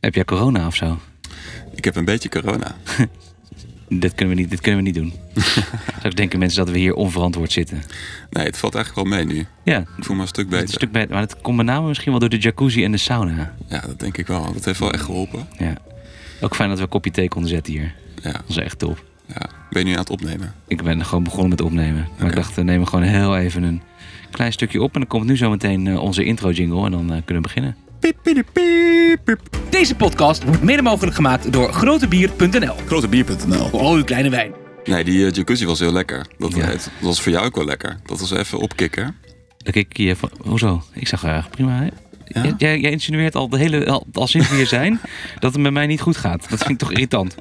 Heb jij corona of zo? Ik heb een beetje corona. Dit kunnen we niet, dit kunnen we niet doen. Straks denken mensen dat we hier onverantwoord zitten. Nee, het valt eigenlijk wel mee nu. Ja, het Ik voel me een stuk is beter. een stuk beter. Maar dat komt met name misschien wel door de jacuzzi en de sauna. Ja, dat denk ik wel. Dat heeft wel echt geholpen. Ja. Ook fijn dat we een kopje thee konden zetten hier. Ja, Dat is echt top. ja. Ben je nu aan het opnemen? Ik ben gewoon begonnen met opnemen. Maar ik Oké. dacht, we nemen gewoon heel even een klein stukje op. En dan komt nu zometeen eh, onze intro jingle. En dan eh, kunnen we beginnen. Deze podcast wordt mede mogelijk gemaakt door grotebier.nl. Grotebier.nl Voor al uw kleine wijn. Nee, die eh, jacuzzi was heel lekker. Dat, Ja. het- dat was voor jou ook wel lekker. Dat was even opkikken. Dan keek ik hier van, hoezo? Ik zag graag prima. hè? Ja? J- Jij, jij insinueert al de hele, al, al sinds we hier zijn, dat het met mij niet goed gaat. Dat vind ik toch irritant.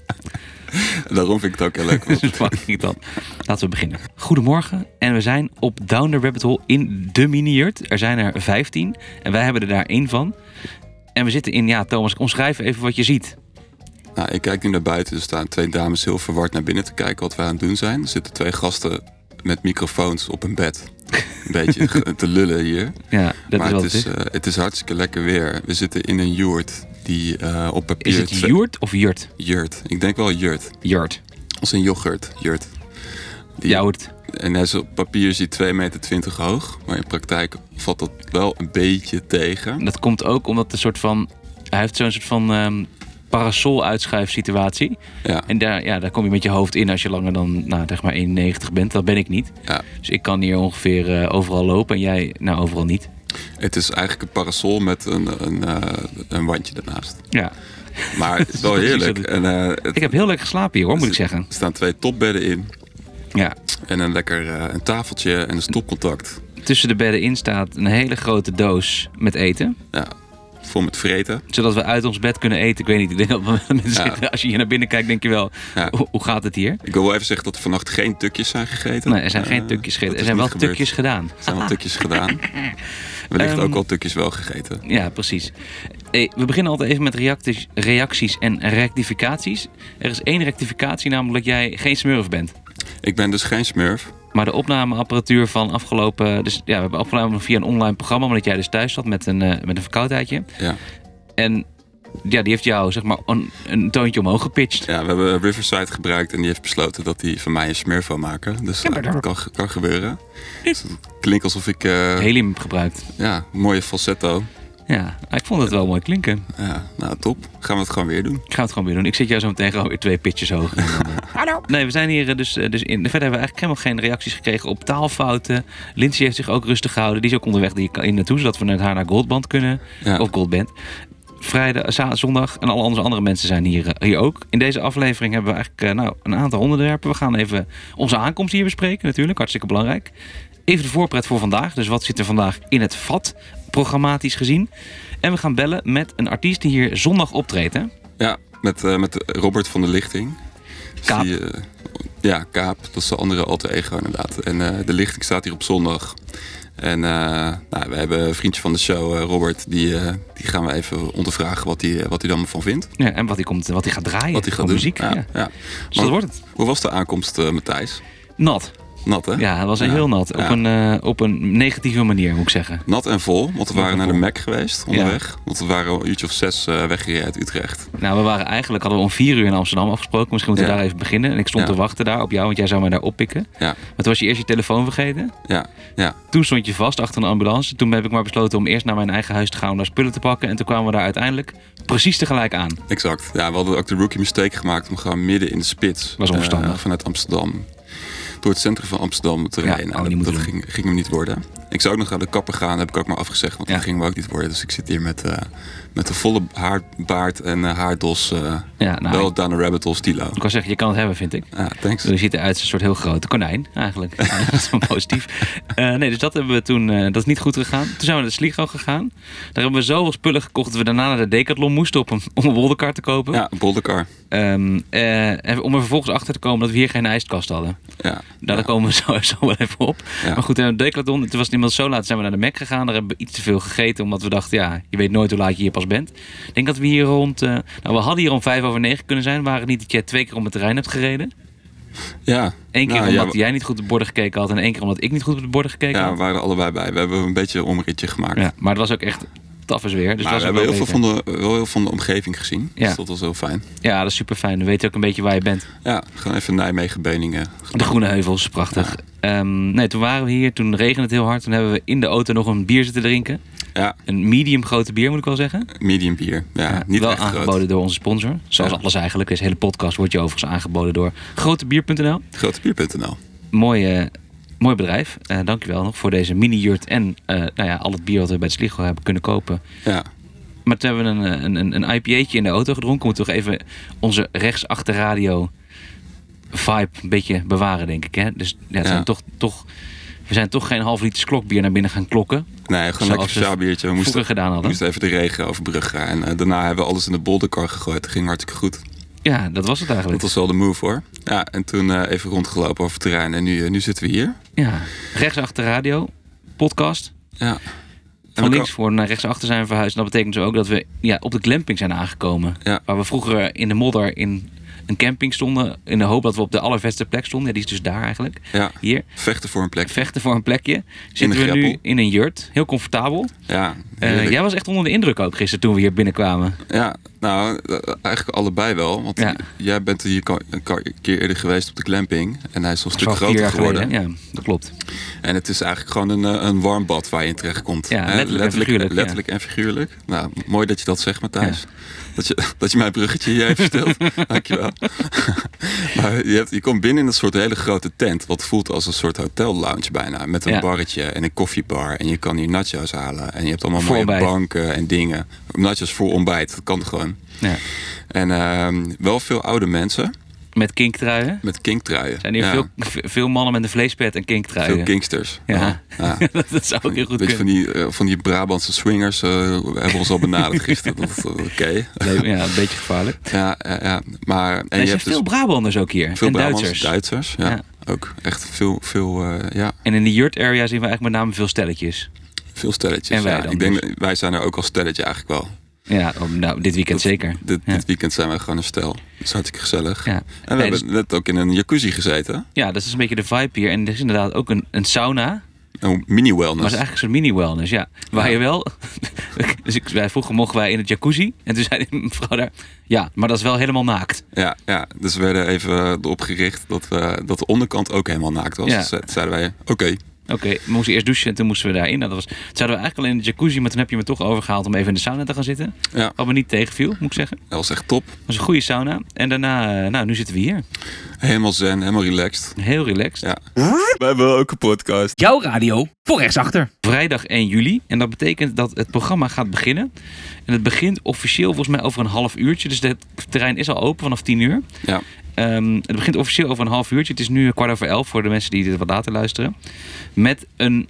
Daarom vind ik het ook heel lekker. Dat is Dus fucking irritant. Laten we beginnen. Goedemorgen en we zijn op Down the Rabbit Hole in de miniërt. Er zijn er 15 en wij hebben er daar één van. En we zitten in, ja Thomas, omschrijf even wat je ziet. Nou, ik kijk nu naar buiten. Er staan twee dames heel verward naar binnen te kijken wat we aan het doen zijn. Er zitten twee gasten met microfoons op een bed. Een beetje ge- te lullen hier. Ja, dat maar is wel het, is, eh, het is hartstikke lekker weer. We zitten in een yurt die eh, op papier... Is het twee- Jurt of Jurt? Yurt. Ik denk wel yurt. Jurt. Als een yoghurt. Yurt. Die- Jout. En hij is op papier is hij 2,20 meter hoog. Maar in praktijk valt dat wel een beetje tegen. Dat komt ook omdat een soort van, hij heeft zo'n soort van ehm parasol-uitschuifsituatie. Ja, En daar, ja, daar kom je met je hoofd in als je langer dan nou, zeg maar 1,90 bent. Dat ben ik niet. ja. Dus ik kan hier ongeveer eh, overal lopen en jij, nou overal niet. Het is eigenlijk een parasol met een, een, eh, een wandje ernaast. Ja. Maar het is wel Precies heerlijk. wat ik- En, eh, het- Ik heb heel lekker geslapen hier hoor, moet ik zeggen. Er staan twee topbedden in. Ja. En een lekker eh, een tafeltje en een stopcontact. Tussen de bedden in staat een hele grote doos met eten. Ja, vol met vreten. Zodat we uit ons bed kunnen eten. Ik weet niet, ik denk dat we- mensen Ja. zeggen, als je hier naar binnen kijkt, denk je wel, Ja. hoe, hoe gaat het hier? Ik wil wel even zeggen dat er vannacht geen tukjes zijn gegeten. Nee, er zijn geen Eh, tukjes dat gegeten. Er is zijn wel niet gebeurd. tukjes Ehm. gedaan. Er zijn wel tukjes gedaan. Wellicht ook wel tukjes wel gegeten. Ja, precies. Hey, we beginnen altijd even met reacties, reacties en rectificaties. Er is één rectificatie, namelijk dat jij geen smurf bent. Ik ben dus geen smurf. Maar de opnameapparatuur van afgelopen. Dus ja, we hebben opgenomen via een online programma. Omdat jij dus thuis zat met een, eh, met een verkoudheidje. Ja. En ja, die heeft jou zeg maar een, een toontje omhoog gepitcht. ja, we hebben Riverside gebruikt en die heeft besloten dat hij van mij een smurf wil maken. Dus eh, dat kan, kan gebeuren. Dus het klinkt alsof ik, eh, Helium gebruikt. ja, mooie falsetto. Ja, ik vond het wel mooi klinken. Ja, nou top. Gaan we het gewoon weer doen. Ik ga het gewoon weer doen. Ik zit jou zo meteen gewoon weer twee pitches hoger. Hallo. Nee, we zijn hier eh, dus, eh, dus in. Verder hebben we eigenlijk helemaal geen reacties gekregen op taalfouten. Lindsay heeft zich ook rustig gehouden. Die is ook onderweg die in naartoe, zodat we met haar naar Goldband kunnen. Ja. Of Goldband. Vrijdag, eh, za- zondag en alle andere, andere mensen zijn hier, eh, hier ook. In deze aflevering hebben we eigenlijk eh, nou, een aantal onderwerpen. We gaan even onze aankomst hier bespreken natuurlijk. Hartstikke belangrijk. Even de voorpret voor vandaag. Dus wat zit er vandaag in het vat, programmatisch gezien. En we gaan bellen met een artiest die hier zondag optreedt. Hè? Ja, met, eh, met Robert van der Lichting. Dus Kaap. die, eh, ja, Kaap. Dat is de andere alter ego inderdaad. En eh, de lichting staat hier op zondag. En eh, nou, we hebben een vriendje van de show, eh, Robert. Die, eh, die gaan we even ondervragen wat hij wat hij dan van vindt. Ja, en wat hij, komt, wat hij gaat draaien. Wat hij gaat Op doen. muziek. Ja. Ja, ja. Dus Maar dat wordt het. Hoe was de aankomst, eh, Matthijs? Nat. Nat, hè? Ja, het was Ja. heel nat. Op, Ja. een, eh, op een negatieve manier, moet ik zeggen. Nat en vol, want we waren naar de Mac geweest onderweg. Want we waren een uurtje of zes eh, weggereden uit Utrecht. Nou, we waren eigenlijk, hadden we om vier uur in Amsterdam afgesproken. Misschien moeten we Ja. daar even beginnen. En ik stond Ja. te wachten daar op jou, want jij zou mij daar oppikken. Ja, Maar toen was je eerst je telefoon vergeten. ja, ja. Toen stond je vast achter een ambulance. Toen heb ik maar besloten om eerst naar mijn eigen huis te gaan om daar spullen te pakken. En toen kwamen we daar uiteindelijk precies tegelijk aan. Exact. Ja, we hadden ook de rookie mistake gemaakt om gewoon midden in de spits. Was onverstandig. eh, vanuit Amsterdam. Door het centrum van Amsterdam te Ja, oh, rijden. hadden we niet Nou, dat moeten ging, ging hem niet worden. Ik zou ook nog naar de kapper gaan, heb ik ook maar afgezegd. Want Ja. dat ging me ook niet worden. Dus ik zit hier met, eh, met een volle haar, baard en eh, haardos. eh, Ja, nou, wel ik, down a rabbit hole stilo. ik kan zeggen, je kan het hebben, vind ik. Ja, thanks. Je ziet eruit als een soort heel grote konijn, eigenlijk. Ja, dat is wel positief. Eh, nee, dus dat hebben we toen, eh, dat is niet goed gegaan. Toen zijn we naar de Sligo gegaan. Daar hebben we zoveel spullen gekocht dat we daarna naar de Decathlon moesten op een, om een wolderkar te kopen. Ja, boldercar. Ehm, eh, en om er vervolgens achter te komen dat we hier geen ijskast hadden. Nou, Ja. Daar ja. komen we zo, zo wel even op. Ja. Maar goed, eh, Decathlon, toen was het inmiddels zo laat, zijn we naar de Mac gegaan. Daar hebben we iets te veel gegeten, omdat we dachten, ja, je weet nooit hoe laat je hier pas bent. Ik denk dat we hier rond, eh, nou, we hadden hier om vijf over negen kunnen zijn, waren het niet dat jij twee keer om het terrein hebt gereden. ja. Eén keer Nou, ja, omdat we- jij niet goed op de borden gekeken had en één keer omdat ik niet goed op de borden gekeken Ja, we had. waren er allebei bij. We hebben een beetje een omritje gemaakt. Ja, maar het was ook echt taf is weer. Dus maar dat we is ook hebben heel wel veel, beter. van de, wel heel veel van de omgeving gezien. Ja. Dus dat was heel fijn. Ja, dat is super fijn. Dan weet je ook een beetje waar je bent. Ja, gewoon even Nijmegen, Beningen. De Groene Heuvels, prachtig. Ehm, nee, toen waren we hier, toen regende het heel hard. Toen hebben we in de auto nog een bier zitten drinken. Ja, Een medium grote bier, moet ik wel zeggen. medium bier. Ja, niet wel echt aangeboden groot. door onze sponsor. Zoals Ja. alles eigenlijk. Deze hele podcast wordt je overigens aangeboden door grotebier.nl. Grotebier.nl. Mooi, eh, mooi bedrijf. Eh dankjewel nog voor deze mini-jurt en eh, nou ja, al het bier wat we bij het Sligo hebben kunnen kopen. Ja, Maar toen hebben we een, een, een IPA'tje in de auto gedronken. Moeten we toch even onze rechtsachterradio vibe een beetje bewaren, denk ik. Hè? Dus ja, het Ja. Zijn toch, toch, we zijn toch geen half liters klokbier naar binnen gaan klokken. nee, gewoon Zoals lekker we speciaal biertje. We vroeger moesten, gedaan we hadden. moesten even de regen overbruggen. En eh, daarna hebben we alles in de bolderkar gegooid. Dat ging hartstikke goed. Ja, dat was het eigenlijk. Dat was wel de move hoor. Ja, en toen eh, even rondgelopen over het terrein. En nu, eh, nu zitten we hier. Ja, rechtsachterradio, podcast. Ja. Van En we links voor naar rechtsachter zijn we verhuisd. En dat betekent dus ook dat we ja, op de glamping zijn aangekomen. Ja. Waar we vroeger in de modder in een camping stonden. In de hoop dat we op de allervetste plek stonden. Ja, die is dus daar eigenlijk. Ja. Hier. Vechten voor een plek. Vechten voor een plekje. Zitten we nu greppel. in een jurt. Heel comfortabel. Ja, Eh, heerlijk. jij was echt onder de indruk ook gisteren toen we hier binnenkwamen. Ja, nou, eh, eigenlijk allebei wel. Want Ja. j- jij bent hier ka- een ka- keer eerder geweest op de glamping. En hij is al een Dat stuk was al vier groter jaar geworden. geleden. Ja, dat klopt. En het is eigenlijk gewoon een, eh, een warm bad waar je in terecht komt. Ja, Hè, letterlijk en figuurlijk, ja. letterlijk en figuurlijk. Nou, mooi dat je dat zegt, Matthijs. Dat, je, dat je mijn bruggetje hier even stelt. Dankjewel. maar je, hebt, je komt binnen in een soort hele grote tent. Wat voelt als een soort hotel lounge bijna. Met een Ja. barretje en een koffiebar. En je kan hier nachos halen. En je hebt allemaal Voor mooie ontbijt. banken en dingen. Nachos voor ontbijt. Dat kan gewoon. Ja. En ehm, wel veel oude mensen Met kinktruien. met kinktruien. Zijn hier Ja, veel, veel mannen met een vleespet en kinktruien. veel kinksters. ja. Ja. dat zou ook heel goed Weet je, kunnen. van die, eh, van die Brabantse swingers eh, hebben ons al benaderd gisteren. Dat is, eh, Oké. Nee, ja, een beetje gevaarlijk. Ja, ja, ja, maar en En er je zijn hebt dus veel Brabanders ook hier. veel en Brabants, Duitsers. Duitsers ja. Ja. Ook echt veel, veel, eh, ja, En in de yurt area zien we eigenlijk met name veel stelletjes. veel stelletjes. En wij ja. dan Ik denk, dus? dat- wij zijn er ook als stelletje eigenlijk wel. Ja, oh, nou, dit weekend zeker. Dit, ja. dit weekend zijn wij gewoon een stel. Dat is hartstikke gezellig. Ja. En we Nee, hebben dus- net ook in een jacuzzi gezeten. ja, dat is een beetje de vibe hier. En er is inderdaad ook een, een sauna. Een mini-wellness. Maar het is eigenlijk een soort mini-wellness, ja. Waar Ja. je wel... dus ik, wij vroeger mochten wij in het jacuzzi. En toen zei de mevrouw daar... Ja, maar dat is wel helemaal naakt. Ja, ja, dus we werden even erop gericht dat, we, dat de onderkant ook helemaal naakt was. Ja. Dus eh, toen zeiden wij, oké, Oké, we moesten eerst douchen en toen moesten we daarin. Nou, dat was, dat zouden we eigenlijk al in de jacuzzi, maar toen heb je me toch overgehaald om even in de sauna te gaan zitten. ja, Wat me niet tegenviel, moet ik zeggen. dat was echt top. Dat was een goede sauna. En daarna, eh, nou, nu zitten we hier. Helemaal zen, helemaal relaxed. Heel relaxed. Ja. We hebben ook een podcast. Jouw radio voor rechtsachter. vrijdag 1 juli. En dat betekent dat het programma gaat beginnen. En het begint officieel volgens mij over een half uurtje. Dus het terrein is al open vanaf 10 uur. Ja, Ehm, het begint officieel over een half uurtje. Het is nu kwart over elf voor de mensen die dit wat later luisteren. Met een,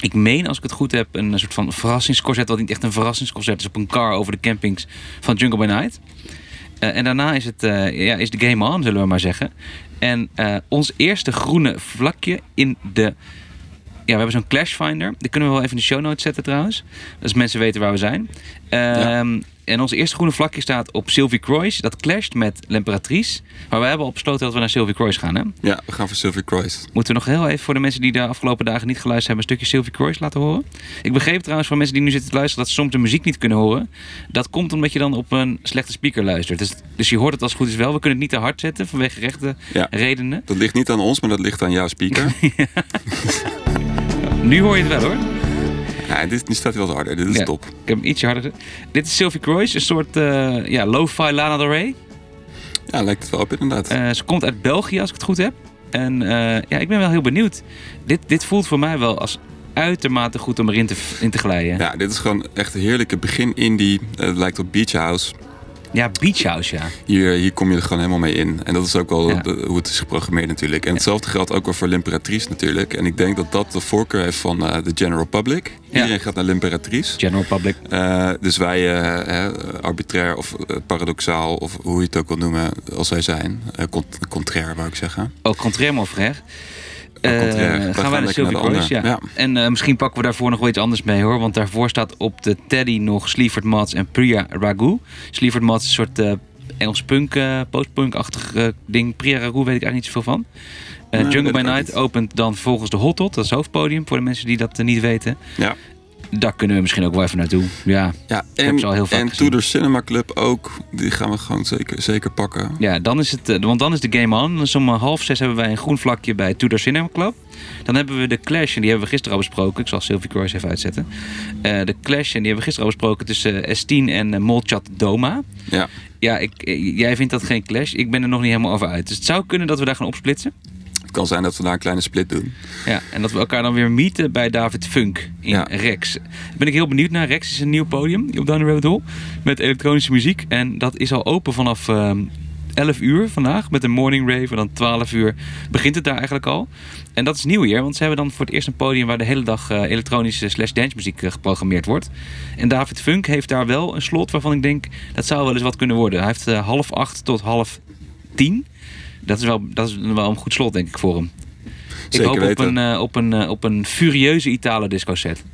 ik meen als ik het goed heb, een soort van verrassingsconcert. Wat niet echt een verrassingsconcert is op een car over de campings van Jungle by Night. Eh, en daarna is, het, eh, ja, is de game on, zullen we maar zeggen. En eh, ons eerste groene vlakje in de... Ja, we hebben zo'n Clashfinder. Die kunnen we wel even in de show notes zetten trouwens. Dus mensen weten waar we zijn. Ehm, En ons eerste groene vlakje staat op Sylvie Croix. Dat clasht met L'Emperatrice. Maar we hebben al besloten dat we naar Sylvie Croix gaan. Hè? ja we gaan voor Silver Croix. Moeten we nog heel even voor de mensen die de afgelopen dagen niet geluisterd hebben... een stukje Sylvie Croix laten horen. Ik begreep trouwens van mensen die nu zitten te luisteren... dat ze soms de muziek niet kunnen horen. Dat komt omdat je dan op een slechte speaker luistert. Dus, dus je hoort het als het goed is wel. We kunnen het niet te hard zetten vanwege rechte Ja. redenen. Dat ligt niet aan ons, maar dat ligt aan jouw speaker. Nu hoor je het wel hoor. ja, dit, nu staat hij wat harder. Dit is Ja, top. Ik heb hem ietsje harder gezet. Dit is Sylvie Croix, een soort eh, ja, lo-fi Lana Del Rey. Ja, lijkt het wel op inderdaad. Eh, ze komt uit België, als ik het goed heb. En eh, ja, ik ben wel heel benieuwd. Dit, dit voelt voor mij wel als uitermate goed om erin te, in te glijden. Ja, ja, dit is gewoon echt een heerlijke begin indie. Eh, Het lijkt op Beach House. Beach House, ja. Hier, hier kom je er gewoon helemaal mee in. En dat is ook wel Ja. de- hoe het is geprogrammeerd natuurlijk. En hetzelfde geldt ook wel voor L'Imperatrice natuurlijk. En ik denk dat dat de voorkeur heeft van eh, de general public. Ja. Iedereen gaat naar L'Imperatrice. General Public. Eh, dus wij, eh, hè, arbitrair of eh, paradoxaal, of hoe je het ook wil noemen, als wij zijn. Eh, cont- contrair, wou ik zeggen. Oh, contraire mon frère. Eh, contraire. We gaan gaan wij naar lekker naar Sylvie de Croix, ja. ander. Ja. En eh, misschien pakken we daarvoor nog wel iets anders mee, hoor. Want daarvoor staat op de Teddy nog Slievert Mats en Priya Raghu. Slievert Mats is een soort eh, Engels punk, eh, postpunk-achtig eh, ding. Priya Raghu weet ik eigenlijk niet zoveel van. Eh, Nee, Jungle weet by ik ook Night niet. opent dan volgens de Hot Hot. Dat is het hoofdpodium voor de mensen die dat eh, niet weten. Ja. Daar kunnen we misschien ook wel even naartoe. Ja, Ja, heb en, ze al heel vaak en gezien. Tudor Cinema Club ook. Die gaan we gewoon zeker, zeker pakken. ja dan is het, eh, want dan is de game on. Dus om eh, half zes hebben wij een groen vlakje bij Tudor Cinema Club. Dan hebben we de Clash, en die hebben we gisteren al besproken. Ik zal Sylvie Cross even uitzetten. Eh, de Clash, en die hebben we gisteren al besproken tussen eh, S10 en eh, Molchat Doma. Ja. Ja, ik, eh, jij vindt dat geen Clash. Ik ben er nog niet helemaal over uit. Dus het zou kunnen dat we daar gaan opsplitsen. Het kan zijn dat we daar een kleine split doen. Ja, en dat we elkaar dan weer meeten bij David Funk in Ja. Rex. Daar ben ik heel benieuwd naar. Rex is een nieuw podium op Down the Rabbit Hole met elektronische muziek. En dat is al open vanaf ehm 11 uur vandaag met een morning rave. En dan 12 uur begint het daar eigenlijk al. En dat is nieuw hier, want ze hebben dan voor het eerst een podium waar de hele dag eh, elektronische slash dance muziek eh, geprogrammeerd wordt. En David Funk heeft daar wel een slot waarvan ik denk dat zou wel eens wat kunnen worden. Hij heeft eh, half acht tot half tien. Dat is, wel, dat is wel een goed slot, denk ik, voor hem. Zeker ik hoop weten. Op, een, eh, op, een, eh, op een furieuze Italo disco set.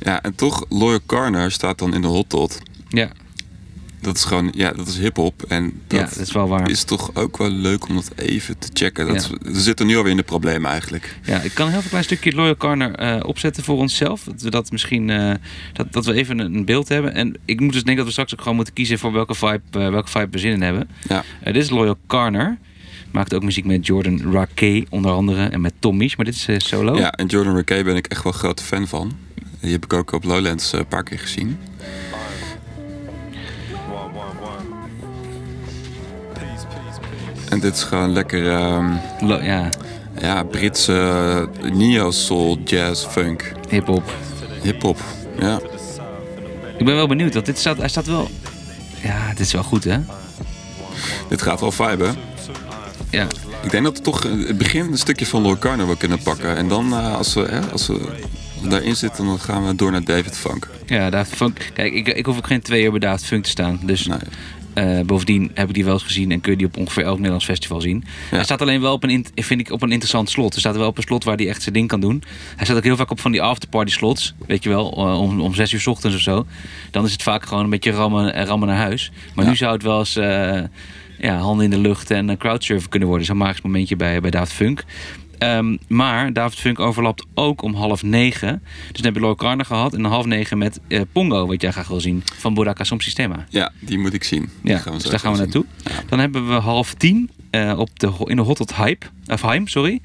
Ja, en toch, Loyal Carner staat dan in de hot tot. Ja, Dat is gewoon, ja, dat is hip-hop. En ja, dat dat is wel waar. is toch ook wel leuk om dat even te checken. Dat Ja. we- we zitten nu alweer in de problemen eigenlijk. Ja, ik kan een heel veel klein stukje Loyal Corner eh, opzetten voor onszelf. Dat we dat misschien eh, dat, dat we even een, een beeld hebben. En ik moet dus denken dat we straks ook gewoon moeten kiezen voor welke vibe, eh, welke vibe we zin in hebben. Ja. Eh, dit is Loyal Corner. Maakt ook muziek met Jordan Raquet onder andere en met Tom Misch, maar dit is eh, solo. Ja, en Jordan Rakey ben ik echt wel een grote fan van. Die heb ik ook op Lowlands eh, een paar keer gezien. En dit is gewoon lekker ehm, Lo- ja ja, Britse neo-soul, jazz, funk, hip-hop. hip-hop. Ja. Ik ben wel benieuwd, want dit staat, hij staat wel. Ja, dit is wel goed hè? Dit gaat wel vibe, hè? Ja, Ik denk dat we toch eh, het begin een stukje van Lord Carno wel kunnen pakken. En dan, eh, als, we, hè, als we daarin zitten, dan gaan we door naar David Funk. ja David Funk. Kijk, ik, ik hoef ook geen twee uur bij David Funk te staan. Dus Nee. Eh, bovendien heb ik die wel eens gezien en kun je die op ongeveer elk Nederlands festival zien. Hij staat alleen wel op een, int- vind ik, op een interessant slot. Hij staat wel op een slot waar hij echt zijn ding kan doen. Hij staat ook heel vaak op van die afterparty slots. Weet je wel, eh, om, om zes uur 's ochtends of zo. Dan is het vaak gewoon een beetje rammen, eh, rammen naar huis. Maar Ja. nu zou het wel eens eh, ja, handen in de lucht en eh, crowdsurfen kunnen worden. Zo'n magisch momentje bij, bij David Funk. Ehm, maar David Funk overlapt ook om half negen. Dus dan heb je Low Carner gehad. En dan half negen met eh, Pongo, wat jij graag wil zien. Van Bodaka Som Sistema. Ja, die moet ik zien. Die Ja, gaan we dus zo daar gaan we even zien. naartoe. Dan hebben we half tien eh, op de, ho- in de Hot Hot Hype, of Heim, sorry.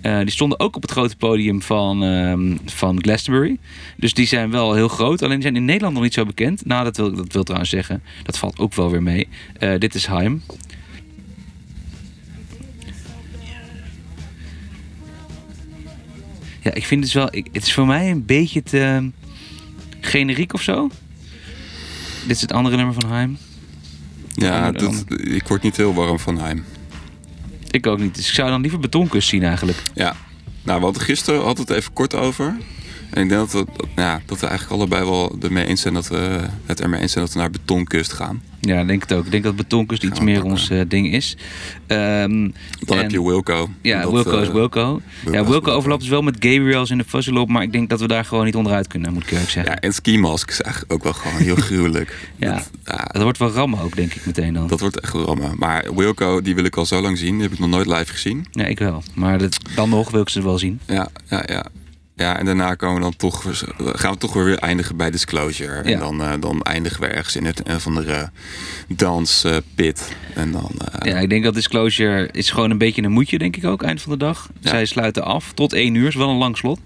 Eh, die stonden ook op het grote podium van, ehm, van Glastonbury. Dus die zijn wel heel groot. Alleen die zijn in Nederland nog niet zo bekend. Nou, dat wil, dat wil trouwens zeggen. Dat valt ook wel weer mee. Eh, dit is Heim. Ja, ik vind het wel... ik- het is voor mij een beetje te ehm, generiek of zo. Dit is het andere nummer van Heim. Ja, En dan- dat, ik word niet heel warm van Heim. Ik ook niet. Dus ik zou dan liever betonkus zien eigenlijk. Ja. Nou, we hadden gisteren hadden we het even kort over. En ik denk dat we, dat, ja, dat we eigenlijk allebei wel ermee eens zijn dat we het ermee eens zijn dat we naar betonkust gaan. Ja, ik denk het ook. Ik denk dat betonkus iets Gaan we meer pakken. ons eh, ding is. Ehm, Dan en- heb je Wilco. Ja, Dat, Wilco is eh, Wilco. ja, is Wilco Wilco. overlapt dus wel met Gabriels in de Fuzzelop, maar ik denk dat we daar gewoon niet onderuit kunnen, moet ik eerlijk zeggen. Ja, en Ski Mask is eigenlijk ook wel gewoon heel gruwelijk. Ja. Dat, ja, Dat wordt wel rammen ook, denk ik meteen dan. dat wordt echt wel rammen. Maar Wilco, die wil ik al zo lang zien. Die heb ik nog nooit live gezien. Ja, ik wel. Maar dat, dan nog wil ik ze wel zien. Ja, ja, ja. Ja, en daarna komen we dan toch, eh, gaan we toch weer eindigen bij Disclosure. Ja. En dan, eh, dan eindigen we ergens in het een van de danspit. eh, En dan, eh, Ja, ik denk dat Disclosure is gewoon een beetje een moedje, denk ik ook, eind van de dag. Ja. Zij sluiten af tot één uur. Is wel een lang slot.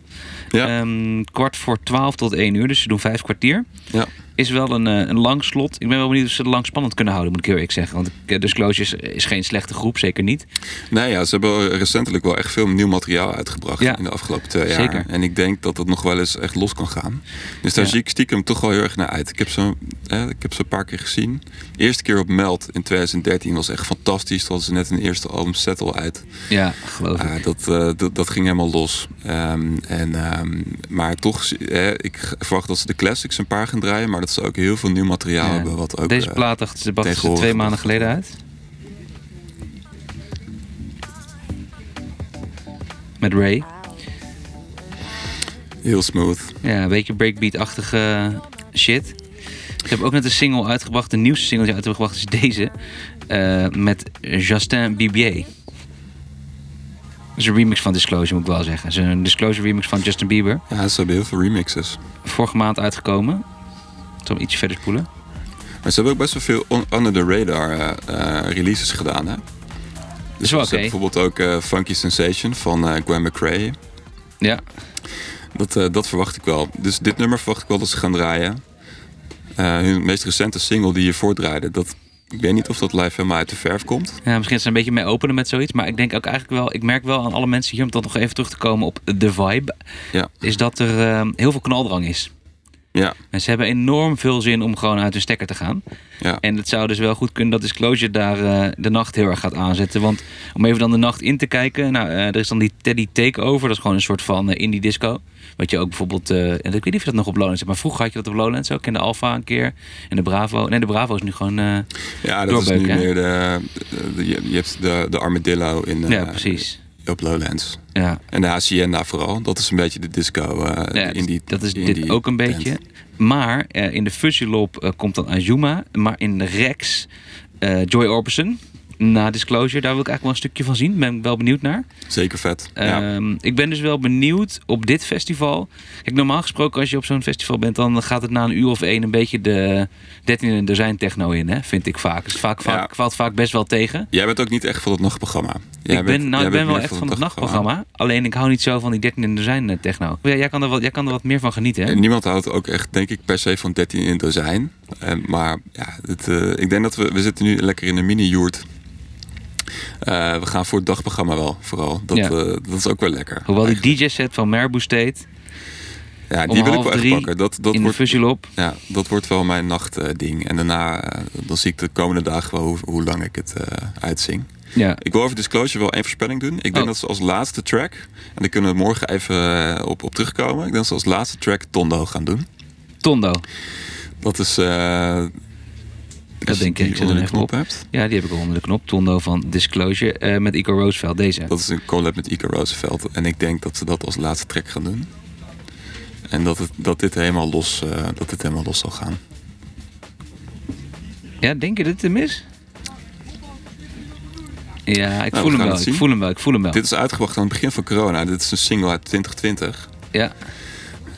ja, Ehm, kwart voor twaalf tot één uur, dus ze doen vijf kwartier. ja. is wel een, eh, een lang slot. Ik ben wel benieuwd of ze het lang spannend kunnen houden, moet ik heel eerlijk zeggen. Want eh, Disclosure is, is geen slechte groep, zeker niet. Nee, ja, ze hebben recentelijk wel echt veel nieuw materiaal uitgebracht Ja. in de afgelopen twee jaar. Zeker. En ik denk dat dat nog wel eens echt los kan gaan. Dus daar Ja. zie ik stiekem toch wel heel erg naar uit. Ik heb, ze, eh, ik heb ze een paar keer gezien. De eerste keer op Meld in 2013 was echt fantastisch. Toen hadden ze net hun eerste album Settle uit. Ja, geloof ik. Ah, dat, eh, dat, dat ging helemaal los. Ehm, en, ehm, maar toch, eh, ik g- verwacht dat ze de classics een paar gaan draaien. Maar dat ze ook heel veel nieuw materiaal Ja. hebben. Wat ook, Deze eh, plaat dacht ze brachten ze tegenwoordig twee maanden wordt geleden uit. Met Ray. heel smooth. Ja, een beetje breakbeat-achtige shit. Ik heb ook net een single uitgebracht. De nieuwste single die uitgebracht is deze. eh, met Justin Bibier. Dat is een remix van Disclosure, moet ik wel zeggen. Het is een Disclosure remix van Justin Bieber. Ja, ze hebben heel veel remixes. Vorige maand uitgekomen. Ik zal hem ietsje verder spoelen. Maar ze hebben ook best wel veel on- under the radar eh, eh, releases gedaan, hè? Dus Is wel ze hebben oké. bijvoorbeeld ook eh, Funky Sensation van eh, Gwen McCrae. Ja, Dat, eh, dat verwacht ik wel. Dus dit nummer verwacht ik wel dat ze gaan draaien. Eh, hun meest recente single die je voordraaide, dat, ik weet niet of dat live helemaal uit de verf komt. Ja, misschien zijn een beetje mee openen met zoiets. Maar ik denk ook eigenlijk wel, ik merk wel aan alle mensen hier, om dan nog even terug te komen op de vibe, Ja, is dat er eh, heel veel knaldrang is. ja, Mensen hebben enorm veel zin om gewoon uit hun stekker te gaan. ja. En het zou dus wel goed kunnen dat Disclosure daar eh, de nacht heel erg gaat aanzetten. Want om even dan de nacht in te kijken. Nou, eh, er is dan die Teddy Takeover. Dat is gewoon een soort van eh, indie disco. Wat je ook bijvoorbeeld... eh, en ik weet niet of je dat nog op Lowlands hebt. Maar vroeger had je dat op Lowlands ook. In de Alpha een keer. En de Bravo. Nee, de Bravo is nu gewoon... eh, ja dat is nu Doorbeuk, hè? meer de, de- de- je je hebt de, de Armadillo in, eh, ja, precies. op Lowlands. Ja. En de Hacienda vooral, dat is een beetje de disco eh Ja, in die dat is in dit die ook een band. beetje. Maar eh, in de Fuzzy Lob eh, komt dan Azuma. Maar in de Rex, eh, Joy Orbison. Na Disclosure, daar wil ik eigenlijk wel een stukje van zien. Ben ik wel benieuwd naar. Zeker vet. ja. Ehm, ik ben dus wel benieuwd op dit festival. Kijk, normaal gesproken als je op zo'n festival bent, dan gaat het na een uur of één een beetje de 13 dozijn techno in, hè? vind ik vaak. Dus vaak, vaak Ja. valt vaak best wel tegen. Jij bent ook niet echt van het nachtprogramma. Jij ik bent- ben, nou, jij ik ben bent wel meer echt van het nachtprogramma. nachtprogramma. Alleen ik hou niet zo van die 13 dozijn eh, techno. Ja, jij, kan er wat, jij kan er wat meer van genieten, hè? En niemand houdt ook echt, denk ik, per se van 13 in het dozijn. En, maar ja, het, eh, ik denk dat we, we zitten nu lekker in een mini-joert. Eh, we gaan voor het dagprogramma wel, vooral. Dat, Ja. eh, dat is ook wel lekker. Hoewel die DJ-set van Merbu State ja, om die wil ik half wel echt drie pakken. Dat, dat, in de wordt, Fuzzy Lob. ja, dat wordt wel mijn nachtding. en daarna eh, dan zie ik de komende dagen wel hoe, hoe lang ik het eh, uitzing. Ja. Ik wil over Disclosure wel één voorspelling doen. Ik denk Oh. dat ze als laatste track, en daar kunnen we morgen even eh, op, op terugkomen. Ik denk dat ze als laatste track Tondo gaan doen. Tondo. Dat is. eh, als denk je ik. die Ik zet onder hem de even knop op. hebt. Ja, die heb ik al onder de knop. Tondo van Disclosure eh, met Ico Roosevelt. Deze. Dat is een collab met Ika Roosevelt. En ik denk dat ze dat als laatste track gaan doen. En dat, het, dat, dit, helemaal los, eh, dat dit helemaal los zal gaan. Ja, denk je dat het hem is? Ja, ik Nou, we voel gaan hem wel. het zien. Ik voel hem wel. Ik voel hem wel. Dit is uitgebracht aan het begin van corona. Dit is een single uit 2020. Ja.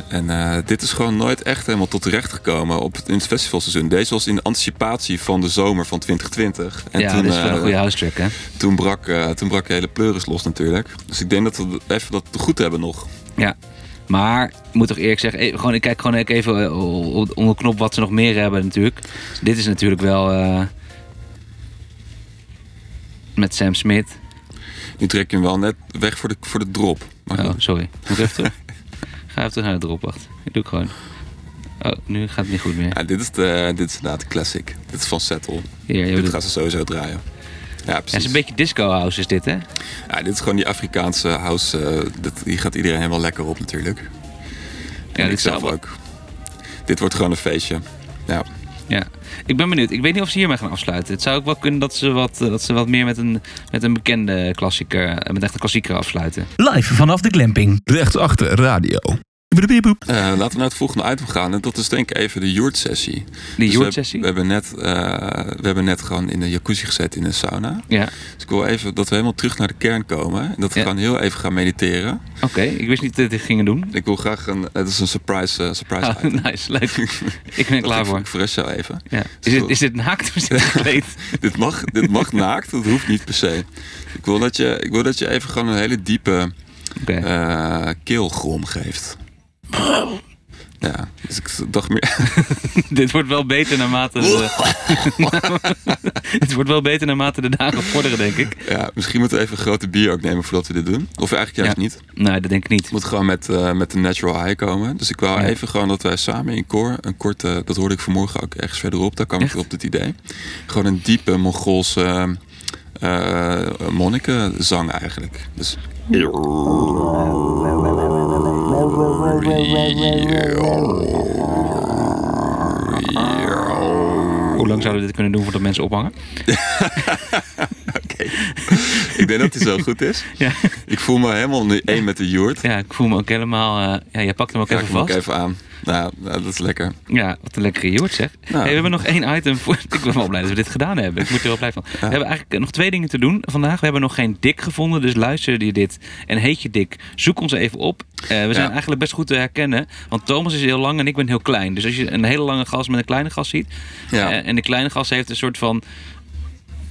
En eh, dit is gewoon nooit echt helemaal tot terecht gekomen op het, in het festivalseizoen. Deze was in anticipatie van de zomer van 2020. En ja, toen, dit is wel eh, een goede house track, hè? toen, brak, eh, toen brak de hele pleuris los natuurlijk. Dus ik denk dat we even dat goed hebben nog. Ja. Maar ik moet toch eerlijk zeggen, eh, gewoon, ik kijk gewoon ook even eh, o- onder de knop wat ze nog meer hebben natuurlijk. Dit is natuurlijk wel eh, met Sam Smith. Nu trek je hem wel net weg voor de, voor de drop. Maar Oh, sorry. Moet ik even terug? Ga even terug naar de drop, wacht. Ik doe ik gewoon. Oh, nu gaat het niet goed meer. ja, dit, is de, dit is inderdaad de classic. Dit is van Settle. Hier, je Dit bedoelt- gaan ze sowieso draaien. Ja, Ja, het precies. is een beetje disco house is dit, hè? ja, dit is gewoon die Afrikaanse house. eh, dat, die gaat iedereen helemaal lekker op natuurlijk. Ja, en dit ik zelf zou- ook. Dit wordt gewoon een feestje. Ja. Ja, ik ben benieuwd. Ik weet niet of ze hiermee gaan afsluiten. Het zou ook wel kunnen dat ze wat, eh, dat ze wat meer met een, met een bekende klassieker, eh, met echt een klassieker afsluiten. Live vanaf de glamping. Rechtsachter radio. Boedebieboep. Eh, laten we naar het volgende item gaan. En dat is denk ik even de joertsessie. Die Dus we heb- joertsessie? We, hebben net, eh, we hebben net gewoon in de jacuzzi gezeten in de sauna. Ja, Dus ik wil even dat we helemaal terug naar de kern komen. En dat we Ja. gewoon heel even gaan mediteren. oké. Ik wist niet dat dit gingen doen. Ik wil graag een... Het is een surprise, eh, surprise Ah, item. nice, leuk. Ik ben er klaar voor. Ik verras jou even. Ja. Is, dit, is dit naakt of is dit gekleed? dit, mag, dit mag naakt, dat hoeft niet per se. Ik wil dat je, ik wil dat je even gewoon een hele diepe Oké. eh keelgrom geeft. Ja, dus ik dacht meer... dit wordt wel beter naarmate de, Dit wordt wel beter naarmate de dagen vorderen, denk ik. Ja, misschien moeten we even een grote bier ook nemen voordat we dit doen. Of eigenlijk juist Ja. niet. Nee, dat denk ik niet. Het moet gewoon met, eh, met de natural high komen. Dus ik wou Ja. even gewoon dat wij samen in koor een korte... Dat hoorde ik vanmorgen ook ergens verderop. Daar kwam Echt? ik op dit idee. Gewoon een diepe Mongoolse eh eh, monnikenzang eigenlijk. Dus... Hoe lang zouden we dit kunnen doen voordat mensen ophangen? Oké. ik denk dat die zo goed is. Ja, Ik voel me helemaal nu één met de joert. ja ik voel me ook helemaal... eh, ja, jij pakt hem ook Ga ik even hem ook vast. even aan. Nou, nou, dat is lekker. Ja, wat een lekkere joert zeg. Nou. Hey, we hebben nog één item. Voor... Ik ben wel blij dat we dit gedaan hebben. Ik moet er wel blij van. We hebben eigenlijk nog twee dingen te doen vandaag. We hebben nog geen dik gevonden. Dus luister je dit en heet je dik, zoek ons even op. Eh, we zijn Ja. eigenlijk best goed te herkennen. Want Thomas is heel lang en ik ben heel klein. Dus als je een hele lange gast met een kleine gast ziet. Ja. eh, en de kleine gast heeft een soort van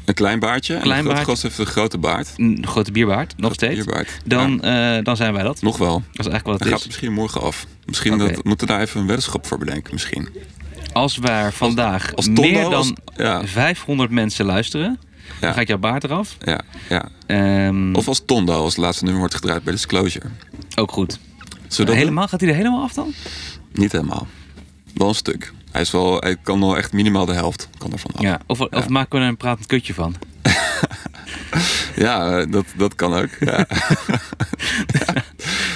Een klein baardje. en Klein een grote baardje. gast heeft een grote baard. een grote bierbaard, nog steeds. Bierbaard. Dan, eh, dan zijn wij dat. Nog wel. Dat is eigenlijk wat het Dan gaat is. het misschien morgen af. Misschien Dus- Oké. dat, moeten we daar even een weddenschap voor bedenken. Misschien. Als we er vandaag als Tondo, meer dan als- ja. 500 mensen luisteren, dan gaat jouw baard eraf. Ja, ja. Ehm, Of als Tondo, als het laatste nummer wordt gedraaid bij Disclosure. ook goed. Zullen we dat doen? helemaal, gaat hij er helemaal af dan? Niet helemaal. Wel een stuk. Hij, is wel, hij kan wel echt minimaal de helft kan ervan af. Ja, of, of maken we er een pratend kutje van? Ja, eh, dat, dat kan ook. Ja.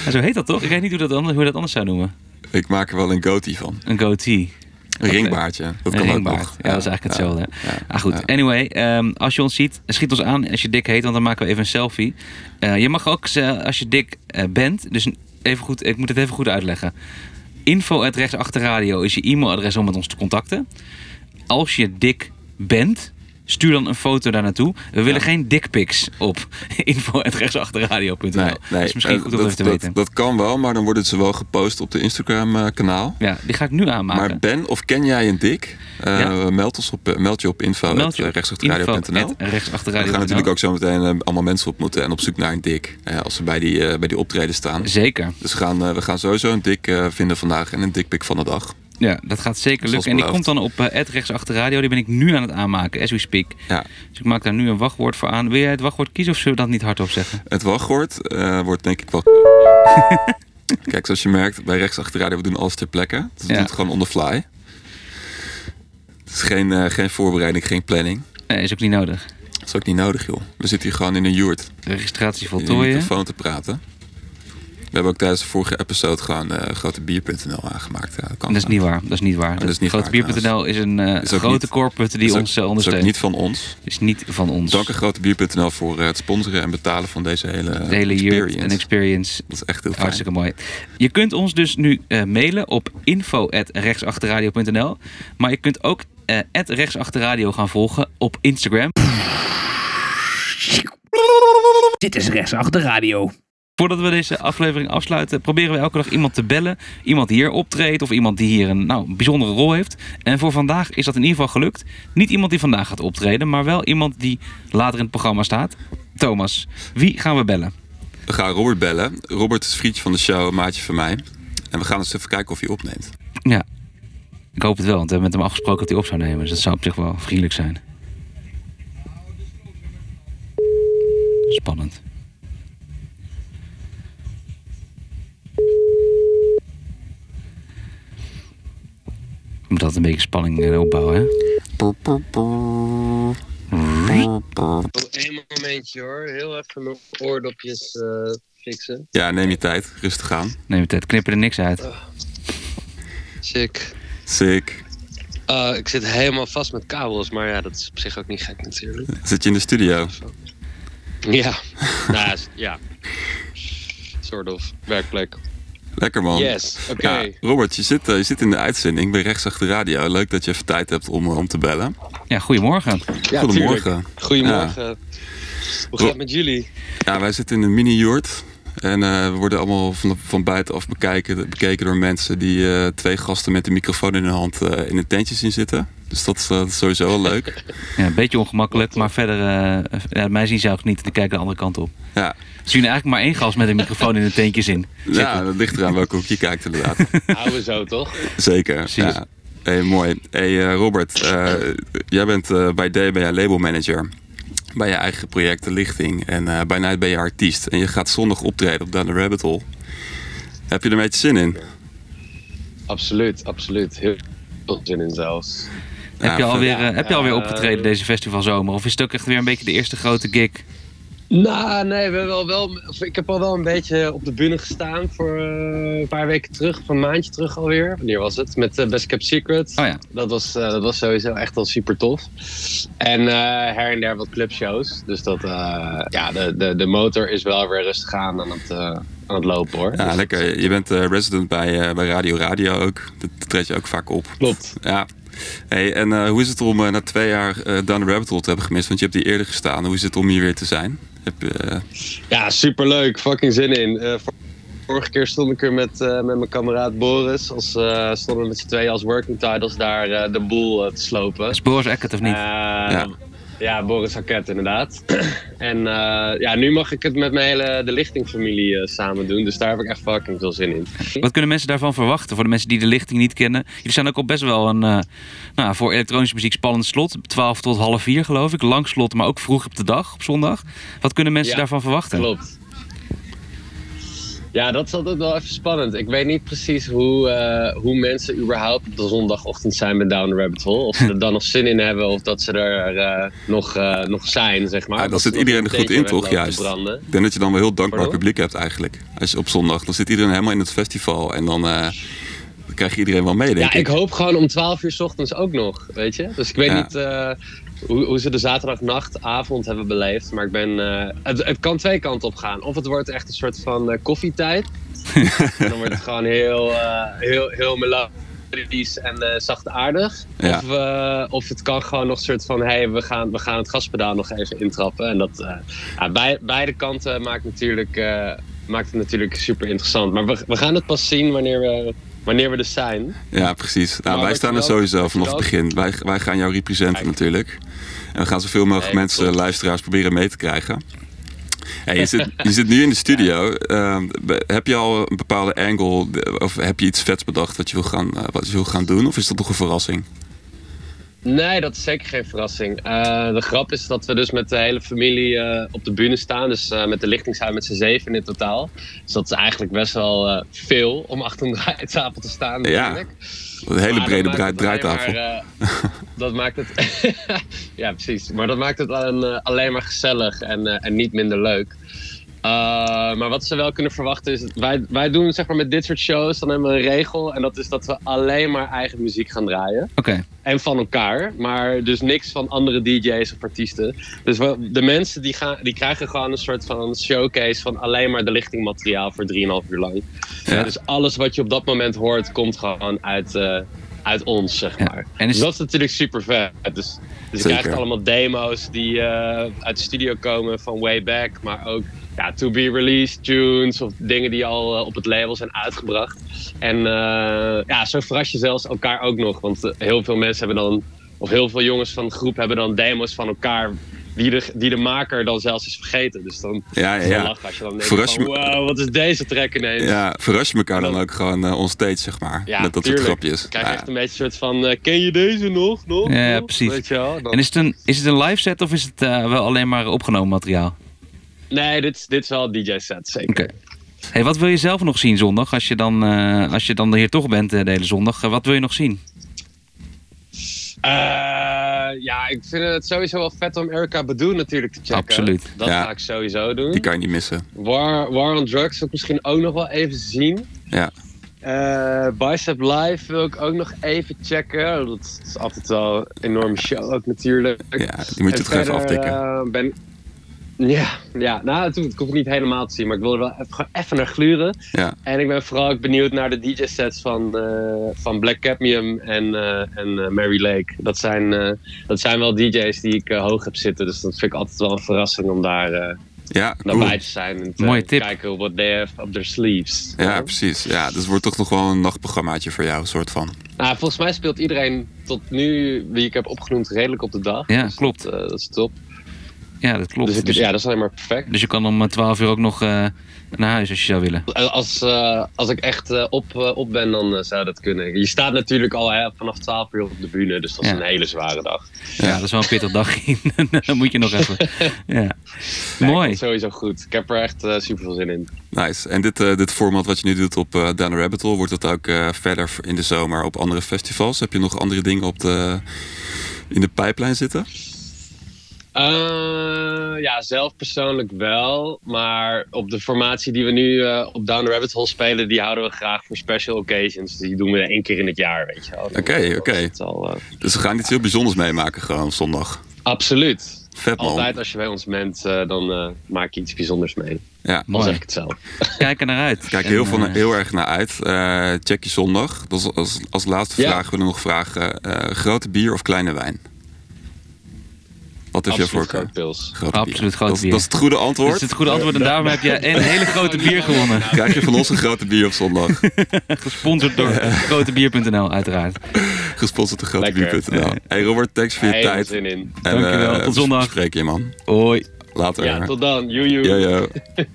Ja, zo heet dat toch? Ik weet niet hoe, dat anders, hoe je dat anders zou noemen. Ik maak er wel een goatee van. Een goatee. Een ringbaardje. Dat een kan ook ringbaard. nog. Ja, dat is eigenlijk ja. hetzelfde. hè? ah, goed. Anyway, ehm, als je ons ziet, schiet ons aan als je dik heet, want dan maken we even een selfie. Eh, je mag ook, eh, als je dik eh, bent, dus even goed, ik moet het even goed uitleggen. Info radio is je e-mailadres om met ons te contacten. Als je dik bent, stuur dan een foto daar naartoe. We willen geen dickpics op info radio.nl. Nee, nee. dat is Dus misschien eh, goed om dat, even te dat- weten. Dat kan wel, maar dan worden ze wel gepost op de Instagram-kanaal. Ja, die ga ik nu aanmaken. Maar Ben of ken jij een dik? Eh, Ah, Ja. meld, ons op, eh, meld je op eh, Meld je op info.rechtsachterradio.nl. info@rechtsachterradio.nl. We gaan natuurlijk ook zo meteen eh, allemaal mensen ontmoeten en op zoek naar een dik. eh, als ze bij die, eh, bij die optreden staan. Zeker. Dus we gaan, eh, we gaan sowieso een dik eh, vinden vandaag en een dikpik van de dag. Ja, dat gaat zeker Zoals lukken. En die beloofd. komt dan op eh @rechtsachterradio. Die ben ik nu aan het aanmaken, as we speak. Ja. Dus ik maak daar nu een wachtwoord voor aan. Wil jij het wachtwoord kiezen of zullen we dat niet hardop zeggen? Het wachtwoord eh, wordt denk ik wel... Kijk, zoals je merkt, bij rechtsachterradio, we doen alles ter plekke. Dus we Ja. doen het gewoon on the fly. Het is geen, eh, geen voorbereiding, geen planning. Nee, is ook niet nodig. Dat is ook niet nodig, joh. We zitten hier gewoon in een joert. De registratie in de voltooien. microfoon te praten. We hebben ook tijdens de vorige episode gewoon eh, grotebier.nl aangemaakt. Ja, kan Dat is niet waar. Dat is niet waar. dat is niet Grotebier.nl is een eh, Is ook grote niet- corporate die Is ook- ons eh, is ook ondersteunt. niet van ons. Is niet van ons. Dank aan grotebier.nl voor eh, het sponsoren en betalen van deze hele, De hele year experience. en experience. Dat is echt heel fijn. Hartstikke mooi. Je kunt ons dus nu eh, mailen op info.rechtsachterradio.nl. Maar je kunt ook eh rechtsachterradio gaan volgen op Instagram. Dit is rechtsachter radio. Voordat we deze aflevering afsluiten, proberen we elke dag iemand te bellen. Iemand die hier optreedt of iemand die hier een nou, bijzondere rol heeft. En voor vandaag is dat in ieder geval gelukt. Niet iemand die vandaag gaat optreden, maar wel iemand die later in het programma staat. Thomas, wie gaan we bellen? We gaan Robert bellen. Robert is vriendje van de show, een maatje van mij. En we gaan eens even kijken of hij opneemt. Ja, ik hoop het wel, want we hebben met hem afgesproken dat hij op zou nemen. Dus dat zou op zich wel vriendelijk zijn. Spannend. Je moet altijd een beetje spanning eh, opbouwen, hè? Eén momentje hoor, heel even mijn oordopjes eh, fixen. Ja, neem je tijd. Rustig aan. Neem het tijd, knippen er niks uit. Sick. Sick. Ah, ik zit helemaal vast met kabels, maar ja, dat is op zich ook niet gek natuurlijk. Zit je in de studio? Ja, nou, ja, s- ja. Soort of werkplek. Lekker man. Yes, oké. Ja, Robert, je zit, eh, je zit in de uitzending bij Rechtsachter Radio. Leuk dat je even tijd hebt om, eh, om te bellen. Ja, goedemorgen. Ja, Goedemorgen. tuurlijk. Goedemorgen. Hoe gaat het met jullie? Ja, wij zitten in een mini-jurt. En eh, we worden allemaal van, van buitenaf bekijken, bekeken door mensen die eh, twee gasten met een microfoon in hun hand eh, in een tentje zien zitten. Dus dat is, eh, sowieso wel leuk. Ja, een beetje ongemakkelijk, maar verder... eh, ja, mij zien ze ook niet, dan kijken de andere kant op. Ja, Ze zien eigenlijk maar één gast met een microfoon in de teentjes in. ja dat ligt eraan welke hoek je kijkt inderdaad. Houden zo toch? Zeker. Precies. Ja. Hey, mooi. Hey, eh, Robert, eh, jij bent eh, bij D ben jij label manager. Bij je eigen projecten Lichting. En eh, bij Night ben je artiest. En je gaat zondag optreden op Down the Rabbit Hole. Heb je er een beetje zin in? Absoluut, absoluut. Heel veel zin in zelfs. Heb je Ja, alweer, eh, heb je alweer eh, opgetreden deze festivalzomer? Of is het ook echt weer een beetje de eerste grote gig? Nou, nee, we hebben al wel, of ik heb al wel een beetje op de bühne gestaan voor eh, een paar weken terug, of een maandje terug alweer. Wanneer was het? Met eh, Best Kept Secret. Oh ja. dat, was, eh, dat was sowieso echt al super tof. En eh, her en der wat clubshows. Dus dat, eh, ja, de, de, de motor is wel weer rustig aan aan het, eh, aan het lopen hoor. Ja, Dus- Nou, lekker. Je bent eh, resident bij, eh, bij Radio Radio ook. Dat treed je ook vaak op. Klopt. Ja. Hey, en eh, hoe is het om eh, na twee jaar eh, Down the Rabbit Hole te hebben gemist? Want je hebt hier eerder gestaan. Hoe is het om hier weer te zijn? Heb, je, eh, Ja, superleuk. Fucking zin in. Eh, vor- vorige keer stond ik er met, eh, met mijn kameraad Boris. Als, eh, stonden we met z'n tweeën als working titles daar eh, de boel eh, te slopen. Is Boris Eckert of niet? Eh. ja. Ehm, ja, Boris Hakket inderdaad. en eh, ja, nu mag ik het met mijn hele de lichtingfamilie eh, samen doen. Dus daar heb ik echt fucking veel zin in. Wat kunnen mensen daarvan verwachten? Voor de mensen die de lichting niet kennen. Jullie zijn ook al best wel een eh, nou, voor elektronische muziek spannend slot. 12 tot half 4 geloof ik. Lang slot, maar ook vroeg op de dag, op zondag. Wat kunnen mensen Ja, daarvan eh? verwachten? Klopt. Ja, dat is altijd wel even spannend. Ik weet niet precies hoe, eh, hoe mensen überhaupt op de zondagochtend zijn bij Down the Rabbit Hole. Of ze er dan nog zin in hebben of dat ze er eh, nog, eh, nog zijn, zeg maar. Ah, dan Dat ze zit nog iedereen een er goed teken in, toch? weglopen te Juist. branden. ik denk dat je dan wel heel dankbaar Pardon? publiek hebt eigenlijk. Als je op zondag, dan zit iedereen helemaal in het festival. En dan, eh, dan krijg je iedereen wel mee, denk Ja, ik hoop gewoon om 12 uur 's ochtends ook nog, weet je? Dus ik weet Ja. niet eh, hoe, hoe ze de zaterdagnacht, avond hebben beleefd. Maar ik ben, eh, het, het kan twee kanten op gaan. Of het wordt echt een soort van eh, koffietijd. en dan wordt het gewoon heel, eh, heel, heel melodisch en eh, zachtaardig. Ja. Of, eh, of het kan gewoon nog een soort van, hé, hey, we, gaan, we gaan het gaspedaal nog even intrappen. En dat, eh, ja, bij, beide kanten maakt, natuurlijk, eh, maakt het natuurlijk super interessant. Maar we, we gaan het pas zien wanneer we, wanneer we er zijn. Ja, precies. Nou, Maar wij wat staan je er wel- sowieso wat je vanaf het wel- begin. Wij, wij gaan jou representen Kijk. natuurlijk. En we gaan zoveel mogelijk Nee, mensen, klopt. luisteraars, proberen mee te krijgen. Hey, je, zit, je zit nu in de studio. Ehm, be- heb je al een bepaalde angle de- of heb je iets vets bedacht wat je wil gaan, eh, wat je wil gaan doen? Of is dat nog een verrassing? Nee, dat is zeker geen verrassing. Eh, de grap is dat we dus met de hele familie eh, op de bühne staan. Dus eh, met de lichtingshuis met z'n zeven in totaal. Dus dat is eigenlijk best wel eh, veel om achter een draaitafel te staan. Ja, natuurlijk. Een hele Maar brede Nou, dat draai- maakt het alleen draaitafel. maar, eh, dat maakt het. ja, precies. Maar dat maakt het dan, eh, alleen maar gezellig en, eh, en niet minder leuk. Eh, maar wat ze wel kunnen verwachten is. Wij, wij doen zeg maar met dit soort shows. Dan hebben we een regel. En dat is dat we alleen maar eigen muziek gaan draaien. Oké, En van elkaar, maar dus niks van andere DJ's of artiesten. Dus wel- de mensen die, gaan, die krijgen gewoon een soort van showcase van alleen maar de lichtingmateriaal voor 3,5 uur lang. Ja. Dus alles wat je op dat moment hoort, komt gewoon uit, eh, uit ons, zeg Ja. maar. En is- Dus dat is natuurlijk super vet. Dus, dus je Zeker. krijgt allemaal demo's die eh, uit de studio komen van way back, maar ook ja, to be released tunes of dingen die al eh, op het label zijn uitgebracht. En eh, ja, zo verras je zelfs elkaar ook nog, want eh, heel veel mensen hebben dan, of heel veel jongens van de groep hebben dan demo's van elkaar. Die de, die de maker dan zelfs is vergeten. Dus dan Ja, ja, is wel ja. lachen als je dan denkt Verras je van, me- wow, wat is deze track ineens? Ja, verras je elkaar dan Dat- ook gewoon eh onstage, zeg maar. Ja, met dat tuurlijk. soort grapjes. Ik krijg Ja. echt een beetje een soort van, eh, ken je deze nog? nog Ja, ja, nog?" precies. Weet je wel? Dan- En is het, een, is het een live set of is het eh, wel alleen maar opgenomen materiaal? Nee, dit, is- dit is wel DJ-set, zeker. Oké. Hey, wat wil je zelf nog zien zondag? Als je dan, eh, als je dan hier toch bent eh, de hele zondag, eh, wat wil je nog zien? Eh, ja, ik vind het sowieso wel vet om Erica Badu natuurlijk te checken. Absoluut. Dat Ja. ga ik sowieso doen. Die kan je niet missen. War, War on Drugs wil ik misschien ook nog wel even zien. Ja. Eh, Bicep Live wil ik ook nog even checken. Dat is altijd wel een enorme show ook natuurlijk. Ja, die moet je En toch even verder, aftikken. eh, ben... Ja, ja, nou, het hoeft ik hoef het niet helemaal te zien, maar ik wil er wel even, gewoon even naar gluren. Ja. En ik ben vooral ook benieuwd naar de DJ-sets van, eh, van Black Cadmium en, eh, en eh, Mary Lake. Dat zijn, eh, dat zijn wel DJ's die ik eh, hoog heb zitten, dus dat vind ik altijd wel een verrassing om daar, eh Ja, daar cool. bij te zijn. En te Mooie tip. kijken what they have up their sleeves. Ja, precies. Ja, dus het wordt toch nog wel een nachtprogrammaatje voor jou, een soort van. Nou, volgens mij speelt iedereen tot nu, wie ik heb opgenoemd, redelijk op de dag. Ja, Dus klopt. Dat, eh, dat is top. Ja, dat klopt. Dus ik- Dus, ja, dat is alleen maar perfect. dus je kan om eh, 12 uur ook nog eh, naar huis als je zou willen. Als, eh, als ik echt eh, op, eh, op ben, dan eh, zou dat kunnen. Je staat natuurlijk al hè, vanaf 12 uur op de bühne, dus dat is Ja. een hele zware dag. Ja, dat is wel een pittig dagje. dan moet je nog even. Ja. Nee, Mooi. komt Sowieso goed. Ik heb er echt super veel zin in. Nice. En dit, eh, dit format wat je nu doet op eh Down the Rabbit Hole, wordt dat ook eh, verder in de zomer op andere festivals? Heb je nog andere dingen op de, in de pijplijn zitten? Eh, ja, zelf persoonlijk wel. Maar op de formatie die we nu eh, op Down the Rabbit Hole spelen, die houden we graag voor special occasions. Die doen we één keer in het jaar, weet je wel. Dan- Oké, dat oké. is het al, eh, Dus we gaan iets heel bijzonders meemaken gewoon op zondag. Absoluut. Vet man. Altijd als je bij ons bent, eh, dan eh, maak je iets bijzonders mee. Ja. Dan zeg Mooi. ik het zelf. Kijk er naar uit. Kijk En, heel, van, eh, heel erg naar uit. Eh, check je zondag. Dat is als, als laatste Ja. vraag willen we nog vragen. eh, grote bier of kleine wijn? Wat is jouw Absoluut voorkeur? groot pils. Grote Absoluut grote dat, is- bier. Dat is het goede antwoord. Dat is het goede antwoord. En daarom heb je een hele grote bier gewonnen. Krijg je van ons een grote bier op zondag. Gesponsord door grotebier.nl uiteraard. Gesponsord door grotebier.nl. Lekker. Hey Robert, thanks voor je Hij heeft tijd. er zin in. En, eh, Dankjewel. Tot we zondag. spreken je man. Hoi. Later. Ja, tot dan. Joejoe. Ja, ja.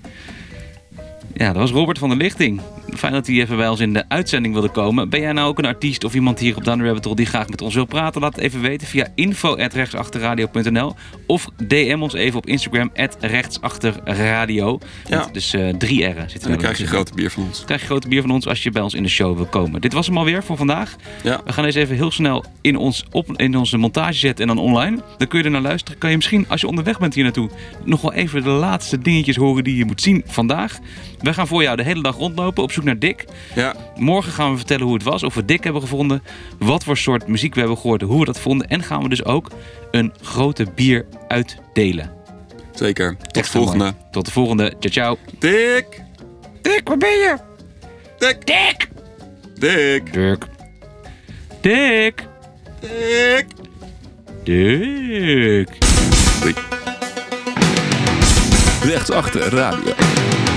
Ja, dat was Robert van der Lichting. Fijn dat hij even bij ons in de uitzending wilde komen. Ben jij nou ook een artiest of iemand hier op Down the Rabbit Hole die graag met ons wil praten? Laat het even weten via info.rechtsachterradio.nl of DM ons even op Instagram rechtsachterradio. Ja. Dus eh, drie R'en En zitten dan er krijg je tussen. grote bier van ons. krijg je grote bier van ons als je bij ons in de show wil komen. Dit was hem alweer voor vandaag. Ja. We gaan deze even heel snel in, ons op, in onze montage zetten en dan online. Dan kun je er naar luisteren. Kan je misschien, als je onderweg bent hier naartoe, nog wel even de laatste dingetjes horen die je moet zien vandaag. Wij gaan voor jou de hele dag rondlopen op zoek naar Dick. Ja. Morgen gaan we vertellen hoe het was, of we Dick hebben gevonden, wat voor soort muziek we hebben gehoord, hoe we dat vonden. En gaan we dus ook een grote bier uitdelen. Zeker. Tot Echt heel mooi. volgende. Tot de volgende. Ciao, ciao. Dick! Dick, waar ben je? Dick! Dick! Dick! Dick. Dick. Dick! Dick. Rechtsachter Radio.